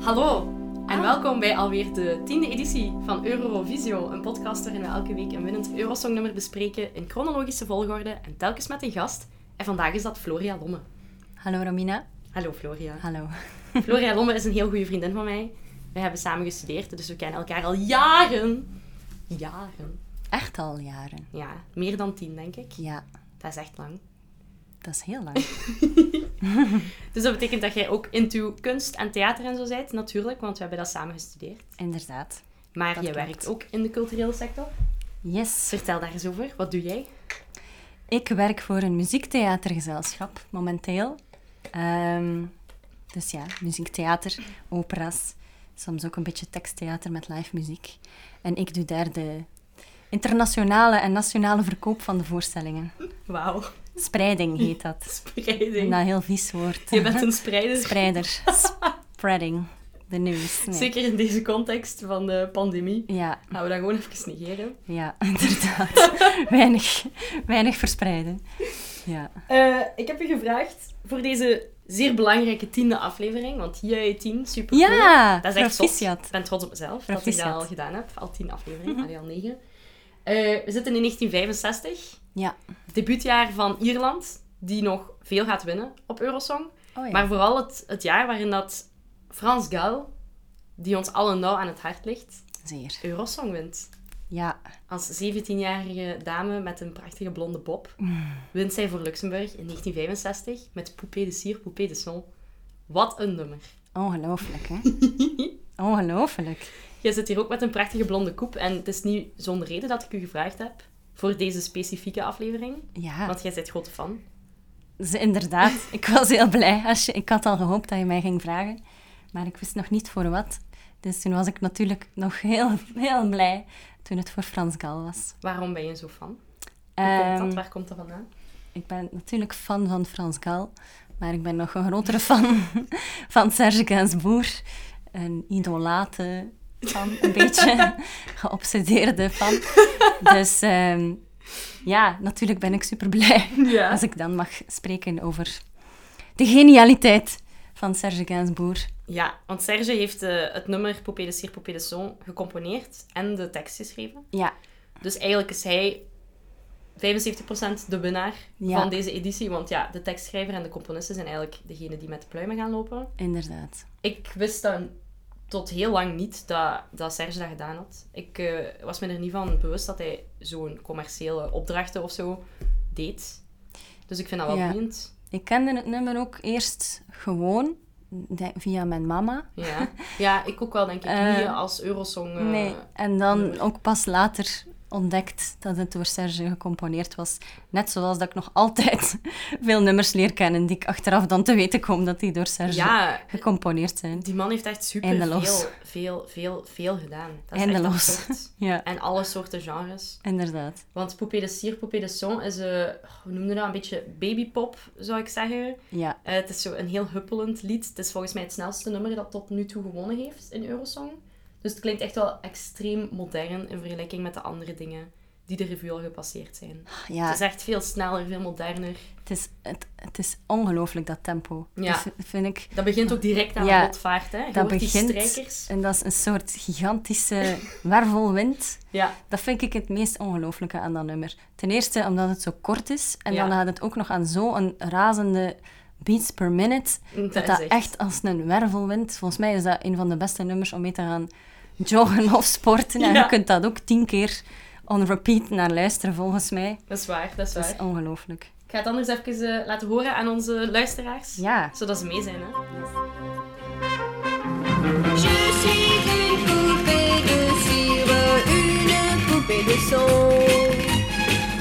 Hallo en Ah. welkom bij alweer de tiende editie van Eurovisio, een podcast waarin we elke week een winnend Eurosongnummer bespreken in chronologische volgorde en telkens met een gast. En vandaag is dat Floria Lomme. Hallo Romina. Hallo Floria. Hallo. Floria Lomme is een heel goede vriendin van mij. We hebben samen gestudeerd, dus we kennen elkaar al jaren. Jaren. Echt al jaren. Ja, meer dan tien denk ik. Ja, Dat is echt lang. dat is heel lang. Dus dat betekent dat jij ook into kunst en theater en zo bent, natuurlijk, want we hebben dat samen gestudeerd. Inderdaad. Maar Dat je klopt. werkt ook in de culturele sector. Yes. Vertel daar eens over. Wat doe jij? Ik werk voor een muziektheatergezelschap momenteel. Ehm, dus ja, muziektheater, opera's, soms ook een beetje teksttheater met live muziek. En ik doe daar de internationale en nationale verkoop van de voorstellingen. Wauw, Nou, Spreiding heet dat. Ik vind spreiding. dat een heel vies woord. Je bent een spreider. Spreider. Spreading. The news. Nee. Zeker in deze context van de pandemie. Ja, Gaan we dat gewoon even negeren. Ja, inderdaad. weinig, weinig verspreiden. Ja. Eh, ik heb je gevraagd voor deze zeer belangrijke tiende aflevering, want jij tien, super Ja, Oh, Dat is echt zot. proficiat. Ik ben trots op mezelf dat ik dat Proficiat. Mhm. al gedaan heb. Al tien afleveringen, allee, al negen. Eh, we zitten in 1965, Ja. het debuutjaar van Ierland, die nog veel gaat winnen op Eurosong. Oh ja. Maar vooral het, het jaar waarin dat Frans Gal, die ons allen nauw aan het hart ligt, Zeer. Eurosong wint. Ja. Als 17-jarige dame met een prachtige blonde bob Mm. wint zij voor Luxemburg in 1965 met Poupée de Cire, Poupée de Son. Wat een nummer. Ongelooflijk, hè? Ongelooflijk. Jij zit hier ook met een prachtige blonde koep en het is niet zonder reden dat ik u gevraagd heb voor deze specifieke aflevering, Ja. want jij bent grote fan. Dus inderdaad, ik was heel blij. Als je, ik had al gehoopt dat je mij ging vragen, maar ik wist nog niet voor wat. Dus toen was ik natuurlijk nog heel, heel blij toen het voor Frans Gal was. Waarom ben je zo fan? Hoe komt dat? Ehm, Waar komt dat vandaan? Ik ben natuurlijk fan van Frans Gal, maar ik ben nog een grotere fan van Serge Gainsbourg. Een idolate fan, een beetje geobsedeerde fan. Dus ehm, ja, natuurlijk ben ik super blij Ja. als ik dan mag spreken over de genialiteit van Serge Gainsbourg. Ja, want Serge heeft eh, het nummer Poupée de Cire, Poupée de Son gecomponeerd en de tekst geschreven. Ja, Dus eigenlijk is hij 75% de winnaar Ja. van deze editie. Want ja, de tekstschrijver en de componisten zijn eigenlijk degene die met de pluimen gaan lopen. inderdaad. Ik wist dan tot heel lang niet dat, dat Serge dat gedaan had. Ik eh, was me er niet van bewust dat hij zo'n commerciële opdrachten of zo deed. Dus ik vind dat wel Ja. boeiend. Ik kende het nummer ook eerst gewoon de- via mijn mama. Ja. ja, ik ook wel, denk ik. Eh, niet als Eurosong. eh, Nee, en dan nummer. ook pas later ontdekt dat het door Serge gecomponeerd was. Net zoals dat ik nog altijd veel nummers leer kennen die ik achteraf dan te weten kom dat die door Serge Ja, gecomponeerd zijn. Die man heeft echt super Eindeloos. veel, veel, veel, veel gedaan. Dat is Eindeloos. Echt absurd. Ja, en alle soorten genres. inderdaad. Want Poupée de Cire, Poupée de Son is, eh hoe noemde dat, een beetje babypop, zou ik zeggen. Ja, Eh, het is zo een heel huppelend lied. Het is volgens mij het snelste nummer dat tot nu toe gewonnen heeft in Eurosong. Dus het klinkt echt wel extreem modern in vergelijking met de andere dingen die de revue al gepasseerd zijn. ja Het is echt veel sneller, veel moderner. het is, het, het is ongelooflijk dat tempo. Ja. Dat v- vind ik. Dat begint ook direct aan Ja, de rotvaart, hè. Je Dat hoort begint. die strijkers. En dat is een soort gigantische wervelwind. Ja, Dat vind ik het meest ongelooflijke aan dat nummer. Ten eerste omdat het zo kort is. En Ja. dan had het ook nog aan zo'n razende beats per minute. dat, is Dat dat echt als een wervelwind. Volgens mij is dat een van de beste nummers om mee te gaan joggen of sporten. En Ja. je kunt dat ook tien keer on repeat naar luisteren, volgens mij. Dat is waar, dat is Dat waar. is ongelooflijk. Ik ga het anders even eh, laten horen aan onze luisteraars. Ja. Zodat ze mee zijn, hè. Je suis une poupée de cire, une poupée de son.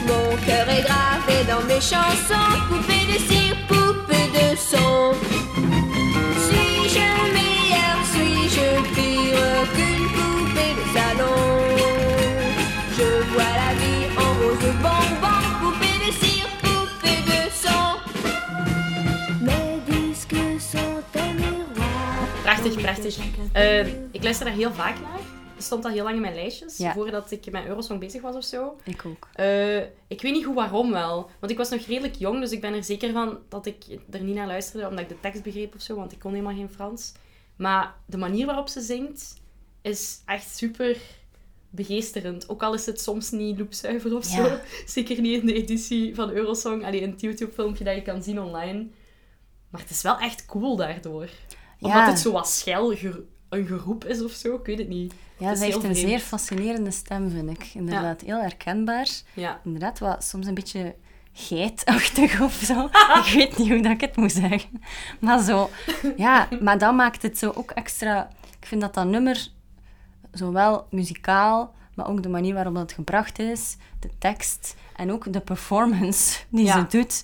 Mon cœur est gravé dans mes chansons, poupée de cire, poupée de son. Suis-je meilleure, suis-je pire qu'une poupée de salon Je vois la vie en rose bonbon, poupée de cire, poupée de son. Mes disques sont un miroir. Prachtig, prachtig. Eh, ik luister daar heel vaak naar. Het stond al heel lang in mijn lijstjes, Ja. voordat ik met Eurosong bezig was of zo. Ik ook. Eh, ik weet niet goed waarom wel. Want ik was nog redelijk jong, dus ik ben er zeker van dat ik er niet naar luisterde, omdat ik de tekst begreep of zo, want ik kon helemaal geen Frans. Maar de manier waarop ze zingt is echt super begeesterend. Ook al is het soms niet loopzuiver of zo. Ja. Zeker niet in de editie van Eurosong. Allee, in het YouTube-filmpje dat je kan zien online. Maar het is wel echt cool daardoor. Omdat Ja. het zo wat schel ge- een geroep is of zo. Ik weet het niet. Ja, Het is ze heeft heel een vreemd. zeer fascinerende stem, vind ik. Inderdaad, heel herkenbaar. Ja. Inderdaad, wat, soms een beetje geitachtig of zo. ik weet niet hoe dat ik het moet zeggen. Maar zo, ja, maar dat maakt het zo ook extra... Ik vind dat dat nummer, zowel muzikaal, maar ook de manier waarop dat gebracht is, de tekst en ook de performance die Ja. ze doet,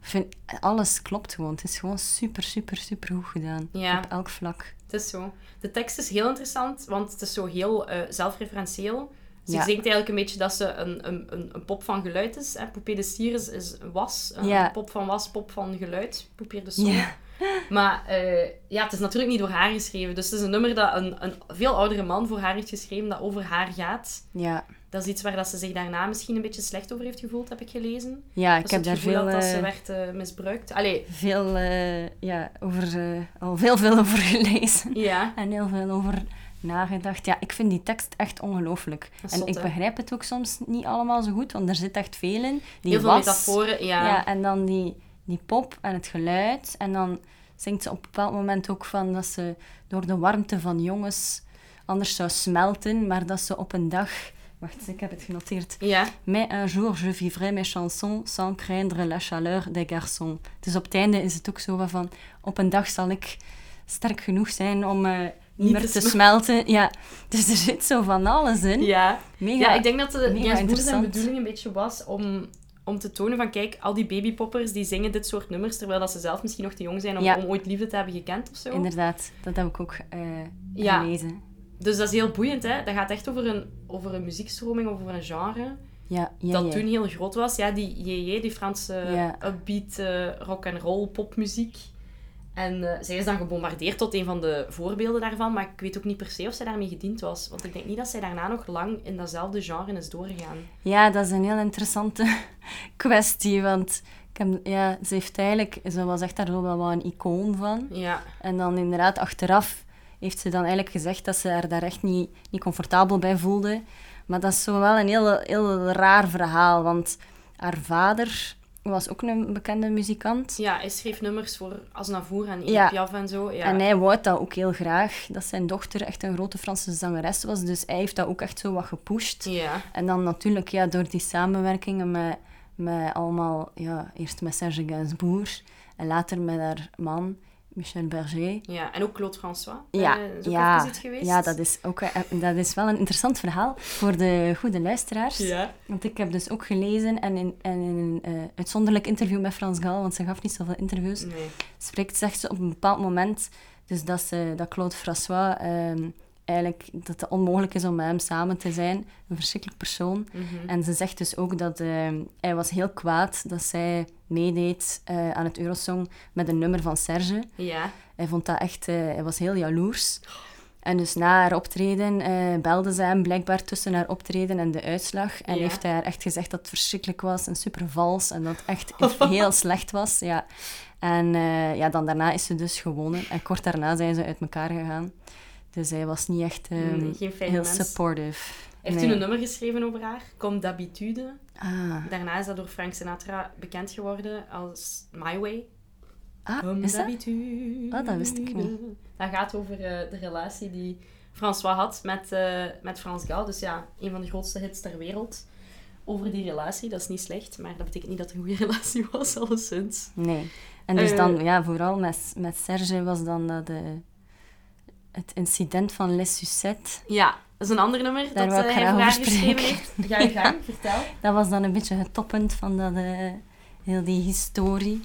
vind, alles klopt gewoon. Het is gewoon super, super, super goed gedaan. Ja. Op elk vlak. Het is zo. De tekst is heel interessant, want het is zo heel eh, zelfreferentieel. Ze Ja. zingt eigenlijk een beetje dat ze een, een, een, een pop van geluid is. En Poupée de Sier is, is was. Een Ja. pop van was, pop van geluid. Poupée de Son. Ja. Maar eh, ja, het is natuurlijk niet door haar geschreven. Dus het is een nummer dat een, een veel oudere man voor haar heeft geschreven, dat over haar gaat. Ja. Dat is iets waar dat ze zich daarna misschien een beetje slecht over heeft gevoeld, heb ik gelezen. Ja, Dat ik ze het heb daar gevoel veel, had dat ze eh, werd eh, misbruikt. Allee, veel, eh, ja, over, eh, al heel veel over gelezen. ja. En heel veel over nagedacht. Ja, ik vind die tekst echt ongelooflijk. Dat is En zot, ik hè? begrijp het ook soms niet allemaal zo goed, want er zit echt veel in. Die Heel veel was, metaforen, ja. Ja, en dan die, die pop en het geluid. En dan zingt ze op een bepaald moment ook van dat ze door de warmte van jongens anders zou smelten, maar dat ze op een dag... Wacht, ik heb het genoteerd. Ja. Mais un jour je vivrai mes chansons sans craindre la chaleur des garçons. Dus op het einde is het ook zo wat van... Op een dag zal ik sterk genoeg zijn om eh, niet Niet meer te te smel- smelten. Ja, dus er zit zo van alles in. ja. Mega. Ja, ik denk dat de Jens mega Boer zijn interessant. bedoeling een beetje was om, om te tonen van kijk, al die babypoppers die zingen dit soort nummers, terwijl dat ze zelf misschien nog te jong zijn om, Ja. om ooit liefde te hebben gekend of zo. Inderdaad, dat heb ik ook eh Ja. gelezen. Dus dat is heel boeiend, hè. Dat gaat echt over een, over een muziekstroming, over een genre, Ja, ja, dat ja. toen heel groot was. Ja, die JJ, die Franse Ja. upbeat eh, rock and roll popmuziek. En eh, zij is dan gebombardeerd tot een van de voorbeelden daarvan, maar ik weet ook niet per se of zij daarmee gediend was. Want ik denk niet dat zij daarna nog lang in datzelfde genre is doorgegaan. Ja, dat is een heel interessante kwestie, want... ik heb- Ja, ze heeft eigenlijk, ze was echt daar zo wel wat een icoon van. Ja, En dan inderdaad, achteraf heeft ze dan eigenlijk gezegd dat ze haar daar echt niet, niet comfortabel bij voelde. Maar dat is zo wel een heel, heel raar verhaal, want haar vader was ook een bekende muzikant. Ja, hij schreef nummers voor Asnavour en Edith Ja. Piaf en zo. Ja. En hij wou dat ook heel graag, dat zijn dochter echt een grote Franse zangeres was. Dus hij heeft dat ook echt zo wat gepusht. ja. En dan natuurlijk ja, door die samenwerkingen met, met allemaal... Ja, eerst met Serge Gainsbourg en later met haar man, Michel Berger. ja, en ook Claude François. Ja, eh, is ook ja, even iets geweest. ja dat, is ook, eh, dat is wel een interessant verhaal voor de goede luisteraars. Ja. Want ik heb dus ook gelezen en in, en in een eh, uitzonderlijk interview met Frans Gal, want ze gaf niet zoveel interviews, Dus- Nee. spreekt, zegt ze op een bepaald moment dus dat, ze, dat Claude François ehm, eigenlijk dat het onmogelijk is om met hem samen te zijn. Een verschrikkelijk persoon. Mm. Mhm. En ze zegt dus ook dat ehm, hij was heel kwaad dat zij meedeed eh, aan het Eurosong met een nummer van Serge. Ja. Hij vond dat echt... eh, hij was heel jaloers. En dus na haar optreden eh, belde ze hem blijkbaar tussen haar optreden en de uitslag. En Ja. heeft hij haar echt gezegd dat het verschrikkelijk was en super vals. En dat het echt heel slecht was, ja. En eh, ja, dan daarna is ze dus gewonnen. En kort daarna zijn ze uit elkaar gegaan. Dus hij was niet echt ehm, Nee, geen fijne heel mens. supportive. Hij heeft Nee. toen een nummer geschreven over haar, Comme d'habitude. Ah, Daarna is dat door Frank Sinatra bekend geworden als My Way. ah Comme is dat? d'habitude. Ah, dat wist ik niet. Dat gaat over eh, de relatie die François had met, eh, met Frans Gal. Dus ja, een van de grootste hits ter wereld. Over die relatie, dat is niet slecht, maar dat betekent niet dat het een goede relatie was, alleszins. Nee. En dus Eh. dan, ja, vooral met, met Serge was dan dat... eh, het incident van Les Sucettes. Ja, dat is een ander nummer Daar dat wou eh, ik hij graag voor haar over geschreven heeft. spreken. Ga je gang, vertel. Dat was dan een beetje het toppunt van dat, eh, heel die historie.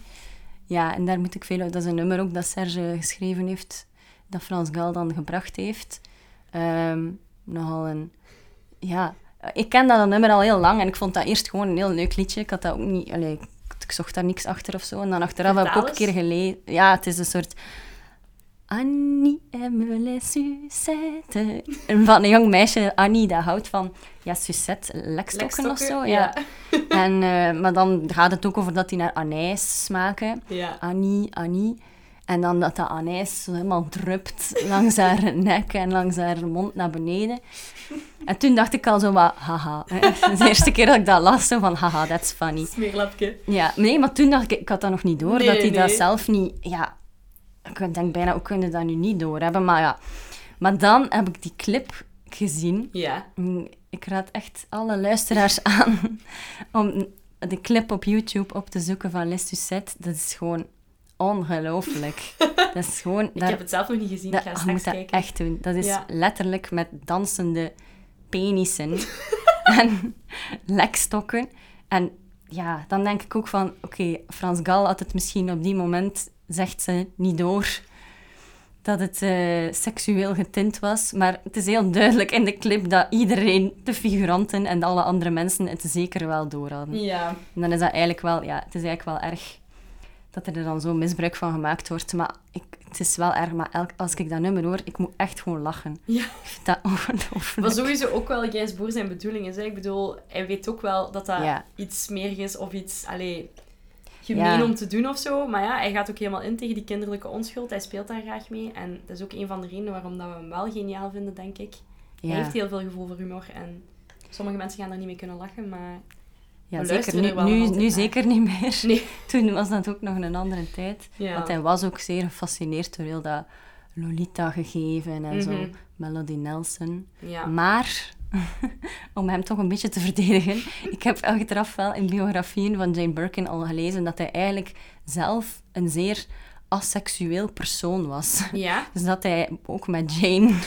Ja, en daar moet ik veel uit. Dat is een nummer ook dat Serge geschreven heeft, dat Frans Gal dan gebracht heeft. Ehm, nogal een... Ja, ik ken dat nummer al heel lang en ik vond dat eerst gewoon een heel leuk liedje. Ik had dat ook niet... allee, ik, ik zocht daar niks achter of zo. En dan achteraf heb ik Vertaal ook een eens. keer gelezen... Ja, het is een soort... Annie aime les sucettes. En Van een jong meisje, Annie, dat houdt van... Ja, sucette, lekstokken of zo. Lekstokken, Ja. En, eh, maar dan gaat het ook over dat die naar anijs smaken. Ja. Annie, Annie. En dan dat dat anijs zo helemaal drupt langs haar nek en langs haar mond naar beneden. En toen dacht ik al zo wat, haha. hè. Dat is de eerste keer dat ik dat las, zo van, haha, that's funny. Smeerlapje. Ja, nee, maar toen dacht ik, ik had dat nog niet door, Nee, dat hij dat nee. zelf niet... Ja, ik denk bijna, hoe kunnen dat nu niet doorhebben? Maar ja, maar dan heb ik die clip gezien. Ja. Mm, Ik raad echt alle luisteraars aan om de clip op YouTube op te zoeken van Les Suzette. Dat is gewoon ongelooflijk. Dat is gewoon... Ik heb het zelf nog niet gezien. dat, ik ga je straks ah, moet dat kijken. echt doen. Dat is Ja. letterlijk met dansende penissen en lekstokken. En ja, dan denk ik ook van... Oké, Frans Gal had het misschien op die moment, zegt ze, niet door... Dat het eh, seksueel getint was. Maar het is heel duidelijk in de clip dat iedereen, de figuranten en alle andere mensen, het zeker wel door hadden. Ja. En dan is dat eigenlijk wel, ja, het is eigenlijk wel erg dat er dan zo misbruik van gemaakt wordt. Maar ik, het is wel erg, maar elk, als ik dat nummer hoor, ik moet echt gewoon lachen. Ja. Ik vind dat ongelooflijk. Maar sowieso ook wel Gijs Boer zijn bedoeling is. Hè? Ik bedoel, hij weet ook wel dat dat Ja. iets smerig is of iets allee, gemeen Ja. om te doen of zo. Maar ja, hij gaat ook helemaal in tegen die kinderlijke onschuld. Hij speelt daar graag mee. En dat is ook een van de redenen waarom dat we hem wel geniaal vinden, denk ik. ja. Hij heeft heel veel gevoel voor humor en sommige mensen gaan daar niet mee kunnen lachen, maar... ja, we zeker. luisteren Nu, er wel nu, altijd nu naar. zeker niet meer. Nee. Toen was dat ook nog een andere tijd. Ja. Want hij was ook zeer gefascineerd door heel dat Lolita-gegeven en zo. Mhm. Melody Nelson. Ja. Maar, om hem toch een beetje te verdedigen, ik heb achteraf wel in biografieën van Jane Birkin al gelezen dat hij eigenlijk zelf een zeer asexueel persoon was. Ja? Dus dat hij ook met Jane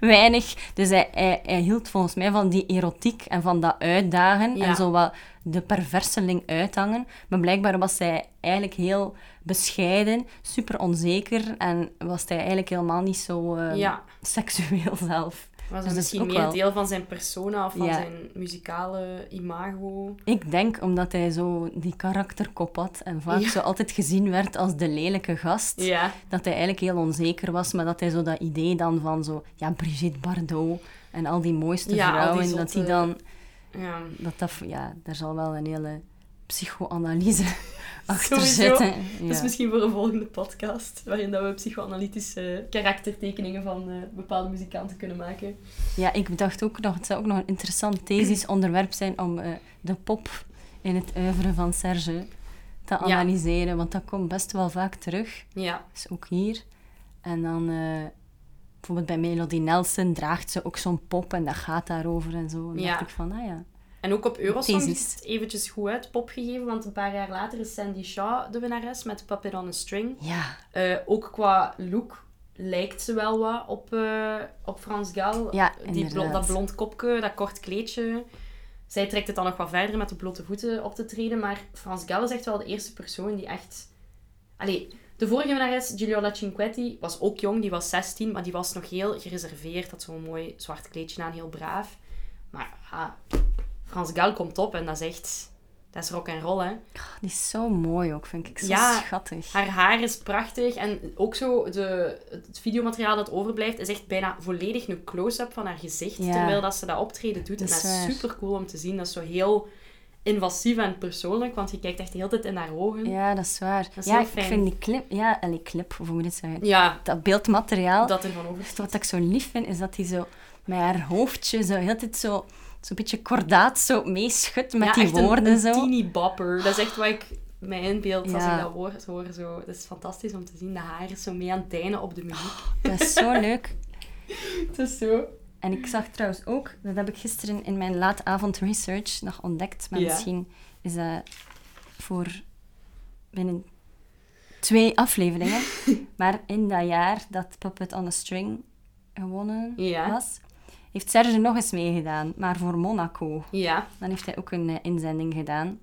weinig. Dus hij, hij, hij hield volgens mij van die erotiek en van dat uitdagen Ja. en zo wat de perverseling uithangen. Maar blijkbaar was hij eigenlijk heel bescheiden, super onzeker en was hij eigenlijk helemaal niet zo eh, Ja. seksueel zelf. Was Dus dat dat is misschien ook meer wel- deel van zijn persona of van Ja. zijn muzikale imago? Ik denk omdat hij zo die karakterkop had en vaak Ja. zo altijd gezien werd als de lelijke gast, Ja. dat hij eigenlijk heel onzeker was, maar dat hij zo dat idee dan van zo, ja, Brigitte Bardot en al die mooiste Ja, al die vrouwen, dat die zotte- dan, Ja. dat dat, ja, daar zal wel een hele psychoanalyse achter Sowieso. zitten. Dat is Ja. misschien voor een volgende podcast, waarin dat we psychoanalytische karaktertekeningen van eh, bepaalde muzikanten kunnen maken. ja, ik bedacht ook nog, het zou ook nog een interessant thesis onderwerp zijn om eh, de pop in het oeuvre van Serge te analyseren, want dat komt best wel vaak terug. Ja. Dus ook hier. En dan eh, bijvoorbeeld bij Melody Nelson draagt ze ook zo'n pop en dat gaat daarover en zo. En Ja. dacht ik van, ah ja. En ook op Eurosong is Thesis. het eventjes goed uit pop gegeven, want een paar jaar later is Sandy Shaw de winnares met Puppet on a String. Ja, Eh, ook qua look lijkt ze wel wat op, eh, op Frans Gaal. Ja, Die blo- inderdaad. dat blond kopje, dat kort kleedje. Zij trekt het dan nog wat verder met de blote voeten op te treden. Maar Frans Gaal is echt wel de eerste persoon die echt... Allee, de vorige winnares, Giulia Cinquetti, was ook jong. Die was 16, maar die was nog heel gereserveerd. Had zo'n mooi zwart kleedje aan, heel braaf. Maar ja, Frans Gaal komt op en dat is echt... Dat is rock en roll, hè. Ah, die is zo mooi ook, vind ik. Zo Ja, schattig. Haar haar is prachtig en ook zo de, het videomateriaal dat overblijft is echt bijna volledig een close-up van haar gezicht. Ja. Terwijl dat ze dat optreden doet. Dat en is dat is waar. super cool om te zien. Dat is zo heel invasief en persoonlijk, want je kijkt echt de hele tijd in haar ogen. Ja, Ja, dat is waar. Dat is ja, heel ik fijn. vind die clip... Ja, allee, clip, of hoe moet je dit zeggen? Dat beeldmateriaal. dat ervan over. Wat ik zo lief vind, is dat hij zo met haar hoofdje zo heel tijd zo... Zo'n beetje kordaat zo meeschudt met Ja, die echt een- woorden een, zo. teeny bopper. Dat is echt wat ik mij inbeeld als Ja. ik dat woord hoor. Zo. Dat is fantastisch om te zien. De haar is zo mee aan het deinen op de muziek. Dat is zo leuk. Het is zo. En ik zag trouwens ook, dat heb ik gisteren in mijn laatavond research nog ontdekt, maar Ja. misschien is dat voor binnen twee afleveringen. maar in dat jaar dat Puppet on a String gewonnen Ja. was, heeft Serge nog eens meegedaan, maar voor Monaco. Ja. Dan heeft hij ook een eh, inzending gedaan.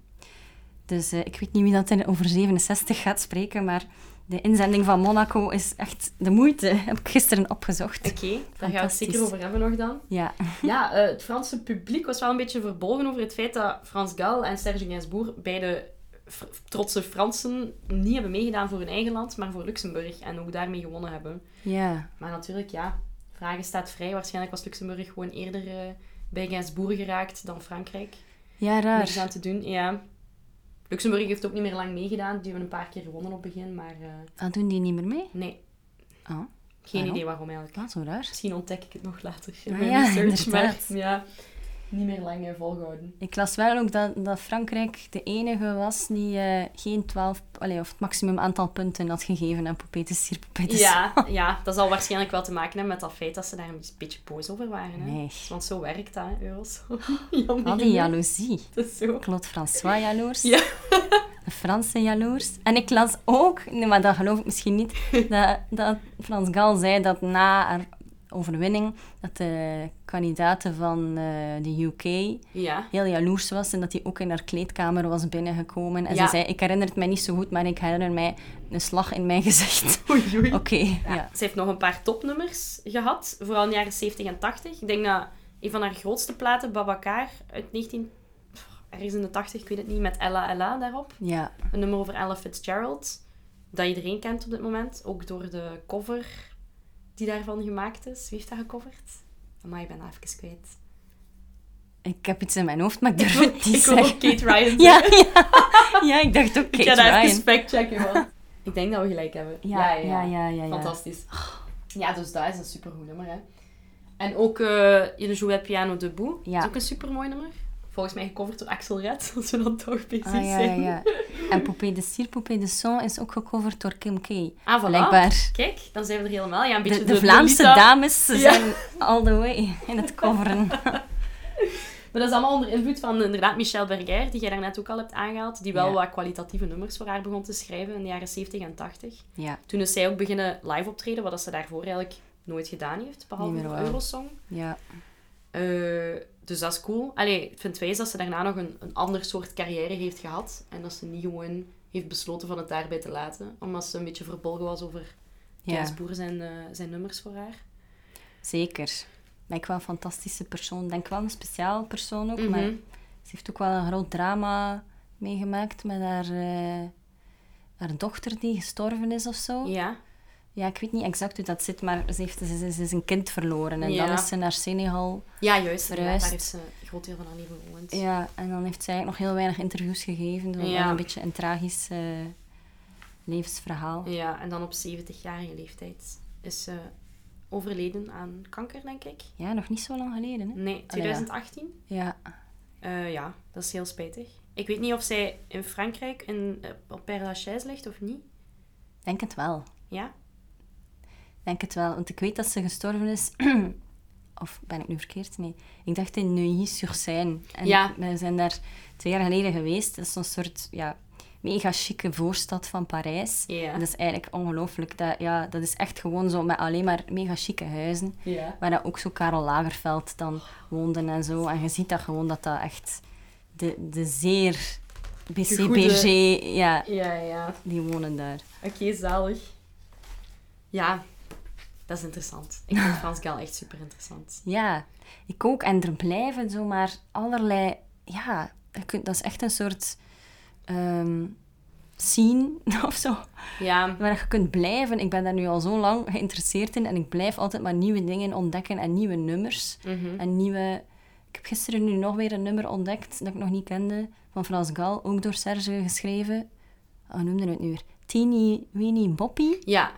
Dus eh, ik weet niet wie dat er over 67 gaat spreken, maar de inzending van Monaco is echt de moeite. Heb ik gisteren opgezocht. Oké, daar gaan we het Fantastisch. zeker over hebben nog dan. Ja. Ja, eh, het Franse publiek was wel een beetje verbolgen over het feit dat Frans Gal en Serge Gainsbourg, beide fr- trotse Fransen, niet hebben meegedaan voor hun eigen land, maar voor Luxemburg. En ook daarmee gewonnen hebben. Ja. Maar natuurlijk, ja, vragen staat vrij. Waarschijnlijk was Luxemburg gewoon eerder eh, bij Gainsbourg geraakt dan Frankrijk. Ja, Niks raar. aan te doen, ja. Luxemburg heeft ook niet meer lang meegedaan. Die hebben een paar keer gewonnen op het begin, maar eh, Ah, doen die niet meer mee? nee, Ah, geen Waarom? idee waarom eigenlijk. ah, zo raar. Misschien ontdek ik het nog later in Ah mijn ja, research, inderdaad. maar ja, niet meer lang eh, volgehouden. Ik las wel ook dat, dat Frankrijk de enige was die eh, geen 12, allee, of het maximum aantal punten had gegeven aan Popetes hier, Popetes. Ja, ja, dat zal waarschijnlijk wel te maken hebben met dat feit dat ze daar een beetje boos over waren. Hè? Nee. Want zo werkt dat, hè, Eurosong. Jammer Al die genoeg. jaloezie. Dat is zo. Claude François jaloers. Ja. De Fransen jaloers. En ik las ook, nee, maar dat geloof ik misschien niet, dat, dat Frans Gal zei dat na haar overwinning, dat de kandidaten van eh, de UK Ja. heel jaloers was en dat hij ook in haar kleedkamer was binnengekomen. En Ja. ze zei, ik herinner het mij niet zo goed, maar ik herinner mij een slag in mijn gezicht. Oei, oei. Oké, ja. Ze heeft nog een paar topnummers gehad, vooral in de jaren 70 en 80. Ik denk dat een van haar grootste platen, Babacar, uit 19... Pff, Ergens in de 80, ik weet het niet, met Ella Ella daarop. Ja, Een nummer over Ella Fitzgerald, dat iedereen kent op dit moment. Ook door de cover die daarvan gemaakt is. Wie heeft dat gecoverd? Amai, ik ben dat even kwijt. ik heb iets in mijn hoofd, maar ik durf het niet Ik wil ook zeggen. Kate Ryan zeggen. Ja, ja. ja, ik dacht ook Ik Kate ga daar Ryan. even factchecken, man. ik denk dat we gelijk hebben. Ja, ja, Oh. ja, ja. ja. Fantastisch. Ja, dus dat is een supergoed nummer, hè. En ook eh Je ne jouais piano debout. Ja. is ook een supermooi nummer. Volgens mij gecoverd door Axel Red, als we dan toch bezig Ah, ja, ja, zijn. ja. En Poupée de Cire, Poupée de Son is ook gecoverd door Kim K. Ah, voilà. Blijkbaar. Kijk, dan zijn we er helemaal. Ja, een beetje De, de Vlaamse Lisa. dames ze Ja. zijn all the way in het coveren. Maar dat is allemaal onder invloed van inderdaad Michel Berger, die jij daarnet ook al hebt aangehaald. Die wel Ja. wat kwalitatieve nummers voor haar begon te schrijven in de jaren 70 en 80. Ja, Toen is zij ook beginnen live optreden, wat dat ze daarvoor eigenlijk nooit gedaan heeft, behalve Niet meer voor wou. Eurosong. ja. Eh, dus dat is cool. Allee, ik vind wijs dat ze daarna nog een, een ander soort carrière heeft gehad. En dat ze niet gewoon heeft besloten van het daarbij te laten. Omdat ze een beetje verbolgen was over Ja. Kees Boer zijn, eh, zijn nummers voor haar. Zeker. Maar ik wel een fantastische persoon. Ik denk wel een speciaal persoon ook. Maar Mhm. ze heeft ook wel een groot drama meegemaakt met haar, eh, haar dochter die gestorven is of zo. Ja. Ja. ik weet niet exact hoe dat zit, maar ze, heeft, ze, ze- ze is een kind verloren. En Ja. dan is ze naar Senegal. ja, juist. inderdaad. Daar Verhuisd. heeft ze een groot deel van haar leven gewoond. Ja, en dan heeft zij eigenlijk nog heel weinig interviews gegeven. Dus Ja. wel een beetje een tragisch eh, levensverhaal. Ja, en dan op 70-jarige leeftijd is ze overleden aan kanker, denk ik. Ja, nog niet zo lang geleden. Hè? Nee, 2018. Ja, Eh, ja, dat is heel spijtig. Ik weet niet of zij in Frankrijk in, eh, op Père Lachaise ligt of niet. denk het wel. Ja? Denk het wel, want ik weet dat ze gestorven is. of ben ik nu verkeerd? Nee. Ik dacht in Neuilly-sur-Seine. En Ja. we zijn daar twee jaar geleden geweest. Dat is zo'n soort ja, mega chique voorstad van Parijs. Ja. En dat is eigenlijk ongelooflijk. Dat, ja, dat is echt gewoon zo met alleen maar mega chique huizen. Ja. Waar dat ook zo Karel Lagerfeld dan woonde en zo. En je ziet dat gewoon dat dat echt de, de zeer BCBG, ja, Ja, ja. die wonen daar. Oké, zalig. Ja, dat is interessant. Ik vind Frans Gaal echt super interessant. Ja, ik ook. En er blijven zomaar allerlei... Ja, je kunt- dat is echt een soort ehm scene of zo. Ja, Waar je kunt blijven. Ik ben daar nu al zo lang geïnteresseerd in. En ik blijf altijd maar nieuwe dingen ontdekken. En nieuwe nummers. En nieuwe... Ik heb gisteren nu nog weer een nummer ontdekt dat ik nog niet kende. Van Frans Gal, ook door Serge geschreven. Oh, hoe noemde het nu weer? Teeny Weeny Boppie. ja.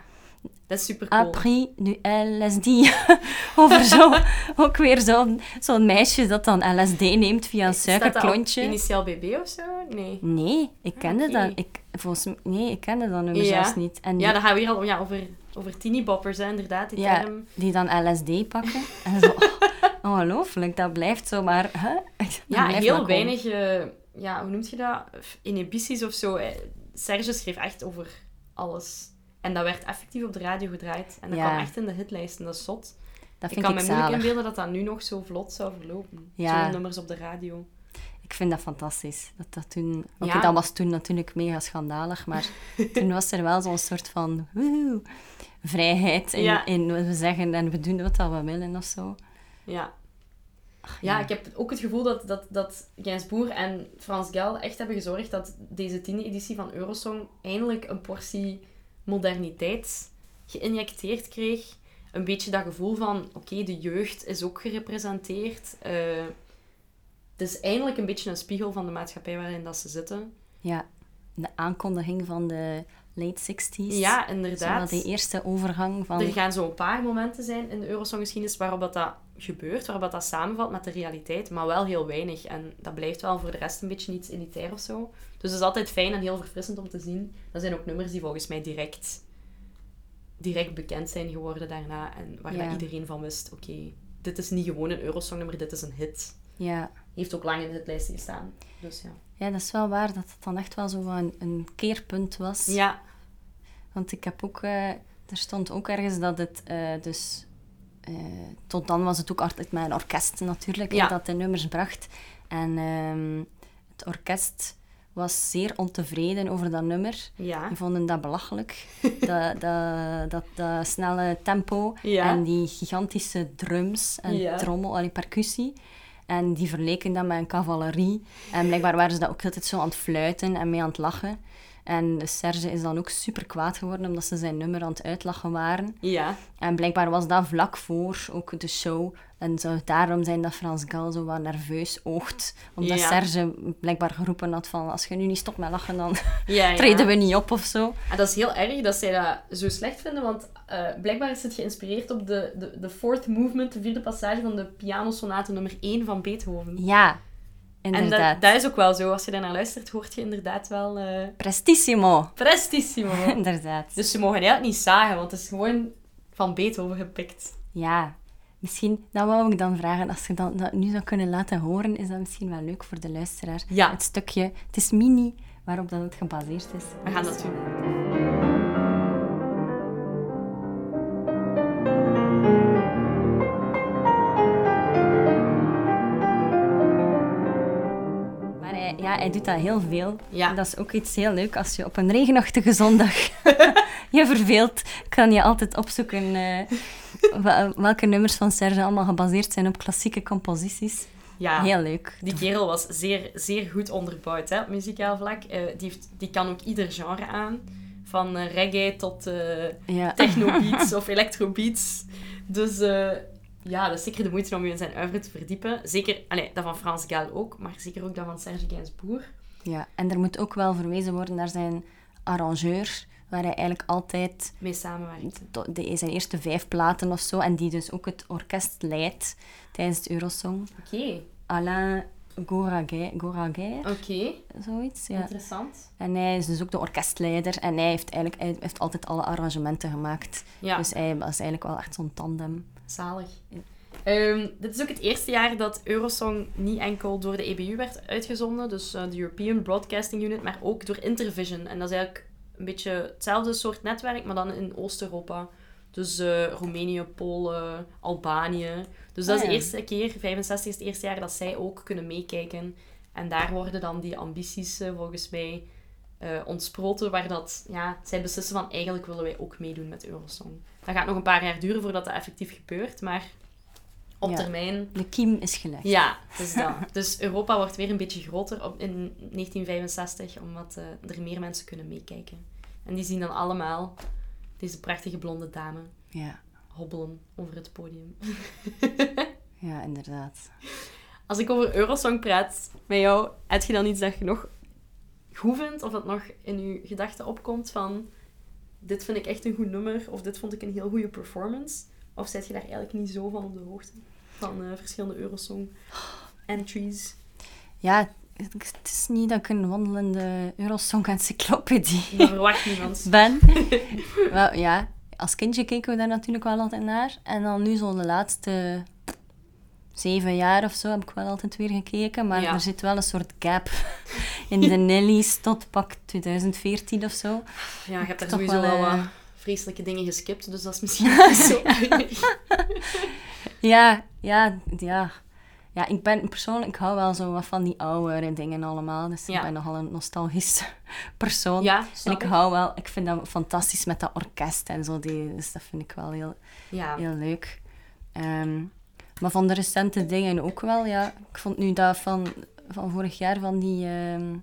Dat is Ah, super cool. Après du LSD. Over zo, ook weer zo'n zo'n meisje dat dan LSD neemt via een suikerklontje. Initiaal BB of zo? Nee. Nee, ik kende Ah, oké. dat. Ik, volgens m- nee, ik kende dat nummer Ja. zelfs niet. En die, Ja, dan gaan we hier al ja, over, over tiniboppers, hè, inderdaad. Die Mm. ja, term. die dan LSD pakken. En zo, oh, ongelooflijk, dat blijft zomaar. Hè? Dat Ja, blijft heel maar komen. weinig, eh, ja, hoe noemt je dat? F- Inhibities of zo. eh. Serge schreef echt over alles. En dat werd effectief op de radio gedraaid. En dat Ja. kwam echt in de hitlijsten, dat is zot. Dat Ik vind kan ik, me moeilijk zalig. inbeelden dat dat nu nog zo vlot zou verlopen. Ja. Zo'n nummers op de radio. Ik vind dat fantastisch. Dat, dat, toen... Oké, Ja. dat was toen natuurlijk mega schandalig, maar toen was er wel zo'n soort van woehoe, vrijheid in, Ja. in wat we zeggen en we doen wat dat we willen of zo. Ja. ja, ik heb ook het gevoel dat, dat, dat Gens Boer en Frans Gal echt hebben gezorgd dat deze tiende editie van Eurosong eindelijk een portie moderniteit geïnjecteerd kreeg. Een beetje dat gevoel van, oké, de jeugd is ook gerepresenteerd. Eh, het is eindelijk een beetje een spiegel van de maatschappij waarin dat ze zitten. Ja, de aankondiging van de late 60s. Ja, Zo wel inderdaad. die eerste overgang van... Er gaan zo'n paar momenten zijn in de Eurosonggeschiedenis waarop dat, dat gebeurt, waarop dat, dat samenvalt met de realiteit, maar wel heel weinig. En dat blijft wel voor de rest een beetje iets elitair of zo. Dus het is altijd fijn en heel verfrissend om te zien. Dat zijn ook nummers die volgens mij direct, direct bekend zijn geworden daarna. En waar Ja. dat iedereen van wist, oké, dit is niet gewoon een Eurosongnummer, dit is een hit. Ja. Heeft ook lang in de hitlijsten gestaan. Dus ja. ja, dat is wel waar dat het dan echt wel zo wat een, een keerpunt was. Ja, Want ik heb ook... eh, er stond ook ergens dat het eh, dus... eh, tot dan was het ook altijd met een orkest natuurlijk, hè, Ja. dat de nummers bracht. En ehm, het orkest was zeer ontevreden over dat nummer. ja. Die vonden dat belachelijk, dat, dat, dat, dat snelle tempo Ja. en die gigantische drums en Ja. trommel en percussie. En die verleken dat met een cavalerie. En blijkbaar waren ze dat ook altijd zo aan het fluiten en mee aan het lachen. En de Serge is dan ook super kwaad geworden omdat ze zijn nummer aan het uitlachen waren. Ja, En blijkbaar was dat vlak voor ook de show. En zou het daarom zijn dat Frans Gal zo wat nerveus oogt. Omdat Ja. Serge blijkbaar geroepen had van... Als je nu niet stopt met lachen, dan ja, ja. treden we niet op of zo. En dat is heel erg dat zij dat zo slecht vinden, want eh, blijkbaar is het geïnspireerd op de, de, de fourth movement, de vierde passage van de pianosonate nummer 1 van Beethoven. Ja, en inderdaad. dat, dat is ook wel zo. Als je daarnaar luistert, hoort je inderdaad wel eh Prestissimo. prestissimo. Inderdaad. dus ze mogen eigenlijk niet zagen, want het is gewoon van Beethoven gepikt. Ja. Misschien, dat wou ik dan vragen, als je dan, dat nu zou kunnen laten horen, is dat misschien wel leuk voor de luisteraar. Ja. Het stukje, het is mini, waarop dat het gebaseerd is. We gaan dat doen. Maar hij, ja, hij doet dat heel veel. Ja. En dat is ook iets heel leuk als je op een regenachtige zondag je verveelt. Kan je altijd opzoeken eh, wa- welke nummers van Serge allemaal gebaseerd zijn op klassieke composities. Ja. Heel leuk. Die kerel was zeer, zeer goed onderbouwd hè, op muzikaal vlak. Eh, die, heeft, die kan ook ieder genre aan. Van eh, reggae tot... eh, Ja. technobeats of electrobeats. Dus eh, ja, dat is zeker de moeite om je in zijn uivre te verdiepen. Zeker, allee, dat van Frans Gaal ook, maar zeker ook dat van Serge Gainsbourg. Ja, en er moet ook wel verwezen worden naar zijn arrangeur, waar hij eigenlijk altijd Mee samenwerkte. to- de, zijn eerste vijf platen of zo, en die dus ook het orkest leidt tijdens het Eurosong. Oké, Alain Goraguer, Goraguer, oké. zoiets. Ja. Interessant. En hij is dus ook de orkestleider en hij heeft eigenlijk hij heeft altijd alle arrangementen gemaakt. Ja. Dus hij was eigenlijk wel echt zo'n tandem. Zalig. Ehm, dit is ook het eerste jaar dat Eurosong niet enkel door de EBU werd uitgezonden, dus eh, de European Broadcasting Unit, maar ook door Intervision. En dat is eigenlijk een beetje hetzelfde soort netwerk, maar dan in Oost-Europa. Dus eh, Roemenië, Polen, Albanië. Dus dat Ah, is de ja. eerste keer, 65 is het eerste jaar dat zij ook kunnen meekijken. En daar worden dan die ambities eh, volgens mij eh, ontsproten, waar dat, ja, zij beslissen van eigenlijk willen wij ook meedoen met Eurosong. Dat gaat nog een paar jaar duren voordat dat effectief gebeurt, maar op Ja. termijn... De kiem is gelegd. Ja, het is dat. Dus Europa wordt weer een beetje groter op, in 1965, omdat eh, er meer mensen kunnen meekijken. En die zien dan allemaal deze prachtige blonde dame Ja, hobbelen over het podium. ja inderdaad. Als ik over Eurosong praat met jou, heb je dan iets dat je nog goed vindt? Of dat nog in je gedachten opkomt van... Dit vind ik echt een goed nummer, of dit vond ik een heel goede performance? Of zet je daar eigenlijk niet zo van op de hoogte? Van eh, verschillende Eurosong-entries? Ja, het het is niet dat ik een wandelende Eurosong-encyclopedie Dat verwacht niemand. ben. wel, ja, als kindje keken we daar natuurlijk wel altijd naar. En dan nu zo de laatste zeven jaar of zo heb ik wel altijd weer gekeken. Maar Ja. er zit wel een soort gap in de Nellies tot pak 2014 of zo. Ja, je hebt daar Toch sowieso wel, wel eh, wat vreselijke dingen geskipt, dus dat is misschien niet zo erg. Ja, ja, ja. Ja, ik ben persoonlijk, ik hou wel zo wat van die oudere dingen allemaal. Dus ik Ja. ben nogal een nostalgische persoon. Ja, en snap ik ik. hou wel, ik vind dat fantastisch met dat orkest en zo. Die, dus dat vind ik wel heel, Ja. heel leuk. Ehm, maar van de recente dingen ook wel, ja. Ik vond nu dat van, van vorig jaar, van die ehm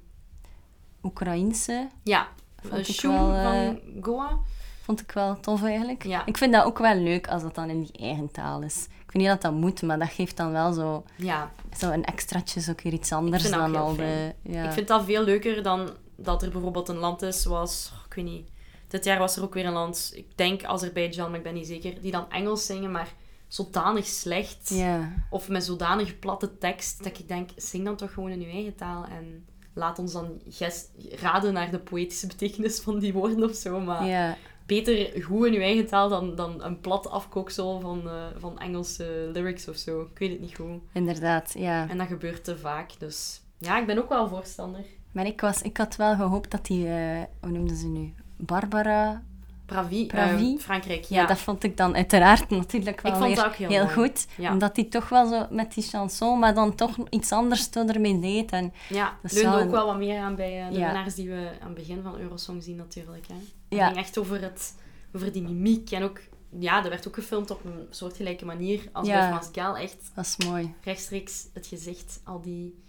Oekraïnse, Ja. Vond ik Shoem wel, eh, van Goa. vond ik wel tof eigenlijk. Ja. Ik vind dat ook wel leuk als dat dan in die eigen taal is. Ik vind niet dat dat moet, maar dat geeft dan wel zo, Ja. zo een extraatje, is ook weer iets anders vind dat dan ook heel al de... Ja. Ik vind dat veel leuker dan dat er bijvoorbeeld een land is zoals, oh, ik weet niet, dit jaar was er ook weer een land, ik denk Azerbeidzjan, maar ik ben niet zeker, die dan Engels zingen, maar zodanig slecht Ja. of met zodanig platte tekst dat ik denk, zing dan toch gewoon in uw eigen taal en laat ons dan ges- raden naar de poëtische betekenis van die woorden of zo. Maar Ja. beter goed in uw eigen taal dan, dan een plat afkoksel van, eh, van Engelse lyrics of zo. Ik weet het niet goed. Inderdaad, ja. En dat gebeurt te vaak, dus ja, ik ben ook wel voorstander. Maar ik, was, ik had wel gehoopt dat die, eh, hoe noemden ze nu? Barbara. Bravi, eh, Bravi? Frankrijk, ja. Ja. dat vond ik dan uiteraard natuurlijk wel Ik vond weer dat ook heel mooi. goed. Ja. Omdat die toch wel zo met die chanson, maar dan toch iets anders toen ermee deed. En, ja, dat is leunde wel ook een- wel wat meer aan bij eh, de Ja. winnaars die we aan het begin van Eurosong zien natuurlijk. Hè. Het Ja. ging echt over, het, over die mimiek. En ook, ja, dat werd ook gefilmd op een soortgelijke manier als bij Ja. Frans Gaal. Echt dat is mooi. rechtstreeks het gezicht, al die...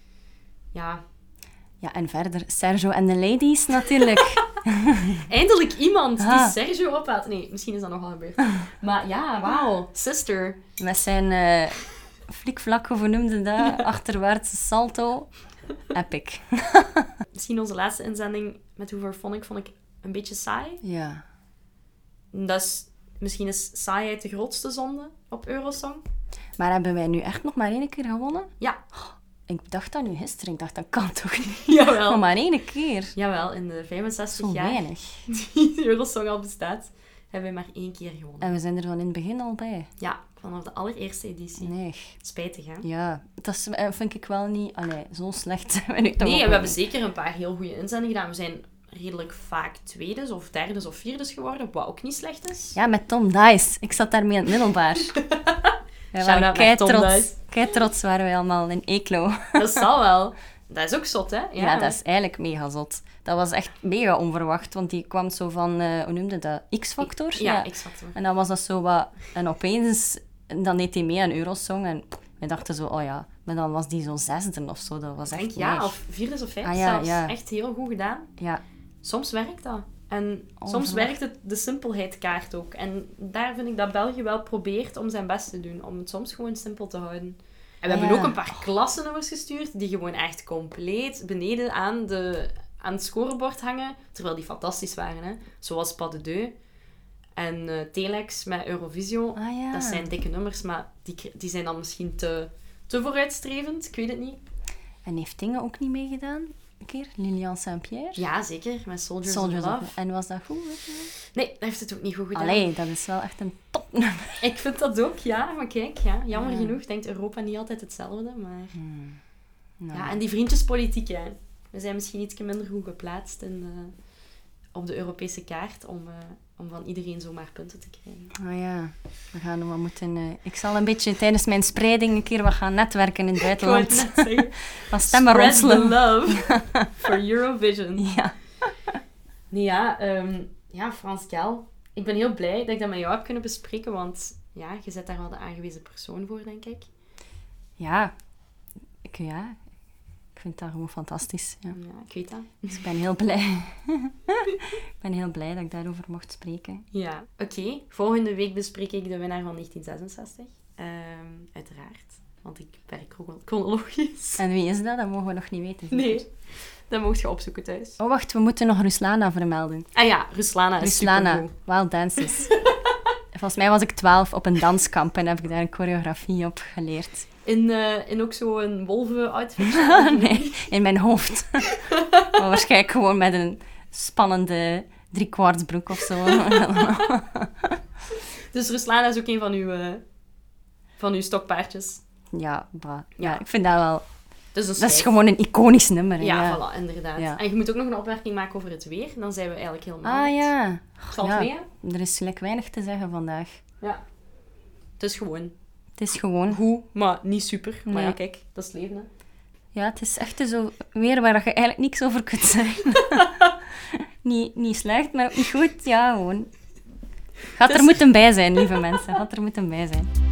Ja, Ja, en verder, Sergio en de Ladies natuurlijk. eindelijk iemand Ah. die Sergio ophaadt. Nee, misschien is dat nogal gebeurd. Maar ja, Ah. wauw. Sister. met zijn eh flikvlak, hoe noemde dat? Achterwaartse salto. Epic. Misschien onze laatste inzending met Hoover Phonic vond ik een beetje saai. Ja. Dat is, misschien is saaiheid de grootste zonde op Eurosong. Maar hebben wij nu echt nog maar één keer gewonnen? Oh, Ja, Ik dacht dat nu gisteren. Ik dacht, dat kan toch niet? jawel. Nog maar één keer. Oh, Jawel, in de 65 Zo jaar weinig. die Eurosong al bestaat, hebben we maar één keer gewonnen. En we zijn er van in het begin al bij. Ja, vanaf de allereerste editie. Nee. Spijtig, hè? Ja, dat is, eh, vind ik wel niet... Allee, zo slecht zijn we nu nee, toch ook we weer hebben zeker een paar heel goede inzendingen gedaan. We zijn redelijk vaak tweedes of derdes of vierdes geworden, wat ook niet slecht is. Ja, met Tom Dice. Ik zat daarmee in het middelbaar. Wij Shout-out naar waren Tom keitrots. Dice. Keitrots waren wij allemaal in Eeklo. Ja, Dat zal wel. Dat is ook zot, hè? Ja, dat is eigenlijk mega zot. Dat was echt mega onverwacht, want die kwam zo van... eh, hoe noemde dat? X-Factor? Ja, exact. En dan was dat zo wat... En opeens... en Dan deed hij mee aan Eurosong en we dachten zo, oh ja. Maar dan was die zo zesde of zo. Dat was Ik echt denk ja, neig. of vierdes of vijfdes Ah, ja, zelfs. ja. Echt heel goed gedaan. Ja, Soms werkt dat. En soms Onverwacht. werkt het de simpelheidkaart ook. En daar vind ik dat België wel probeert om zijn best te doen. Om het soms gewoon simpel te houden. En we Ah, hebben ja. ook een paar klassennummers gestuurd die gewoon echt compleet beneden aan, de, aan het scorebord hangen. Terwijl die fantastisch waren, hè. Zoals Pas de Deux en eh, Telex met Eurovisio. Ah, ja. Dat zijn dikke nummers, maar die, kri- die zijn dan misschien te, te vooruitstrevend. Ik weet het niet. En heeft Tinge ook niet meegedaan? Een keer? Lilian Saint-Pierre? Ja, zeker. Met Soldiers, Soldiers of of Love. Love. En was dat goed? weet je Nee, dat heeft het ook niet goed wel? gedaan. Allee, dat is wel echt een topnummer. Ik vind dat ook, ja. Maar kijk, ja, jammer genoeg denkt Europa niet altijd hetzelfde. Maar... Nou, Ja, en die vriendjespolitiek, hè. We zijn misschien iets minder goed geplaatst in, eh, op de Europese kaart om, eh, om van iedereen zomaar punten te krijgen. ah ja, we gaan nog wat moeten... eh, ik zal een beetje tijdens mijn spreiding een keer wat gaan netwerken in het Ik wou het buitenland. net zeggen. Van stemmen Spread the ronselen. love for Eurovision. Ja. Nee, ja, ehm, ja, Frans Kel. Ik ben heel blij dat ik dat met jou heb kunnen bespreken, want ja, je zet daar wel de aangewezen persoon voor, denk ik. Ja. Ik, ja. Ik vind dat gewoon fantastisch. Ja. Ja, ik weet dat. Dus ik ben heel blij. ik ben heel blij dat ik daarover mocht spreken. Ja, oké. Volgende week bespreek ik de winnaar van 1966. Ehm, uiteraard, want ik werk chrono- chronologisch. En wie is dat? Dat mogen we nog niet weten. zeker? Nee, dat mocht je opzoeken thuis. Oh, wacht. We moeten nog Ruslana vermelden. Ah ja, Ruslana is Ruslana, supergoed. Wild Dances. Volgens mij was ik twaalf op een danskamp en heb ik daar een choreografie op geleerd. In, eh, in ook zo'n wolven-outfit. nee, in mijn hoofd. maar waarschijnlijk gewoon met een spannende driekwartsbroek of zo. Dus Ruslana is ook een van uw, eh, van uw stokpaardjes. ja, bah. ja. Ja. ik vind dat wel... Dus een Dat is schijf. gewoon een iconisch nummer. hè, Ja, voilà, inderdaad. Ja. En je moet ook nog een opmerking maken over het weer. Dan zijn we eigenlijk helemaal... Ah ja. Valt Ja. mee, hè? Er is gelijk weinig te zeggen vandaag. Ja. Het is gewoon Het is gewoon... goed, maar niet super. Maar Nee. ja, kijk, dat is het leven, hè. Ja, het is echt zo weer waar je eigenlijk niks over kunt zeggen. niet, niet slecht, maar ook niet goed. Ja, gewoon. Gaat Het er is- moeten bij zijn, lieve mensen. Gaat er moeten bij zijn.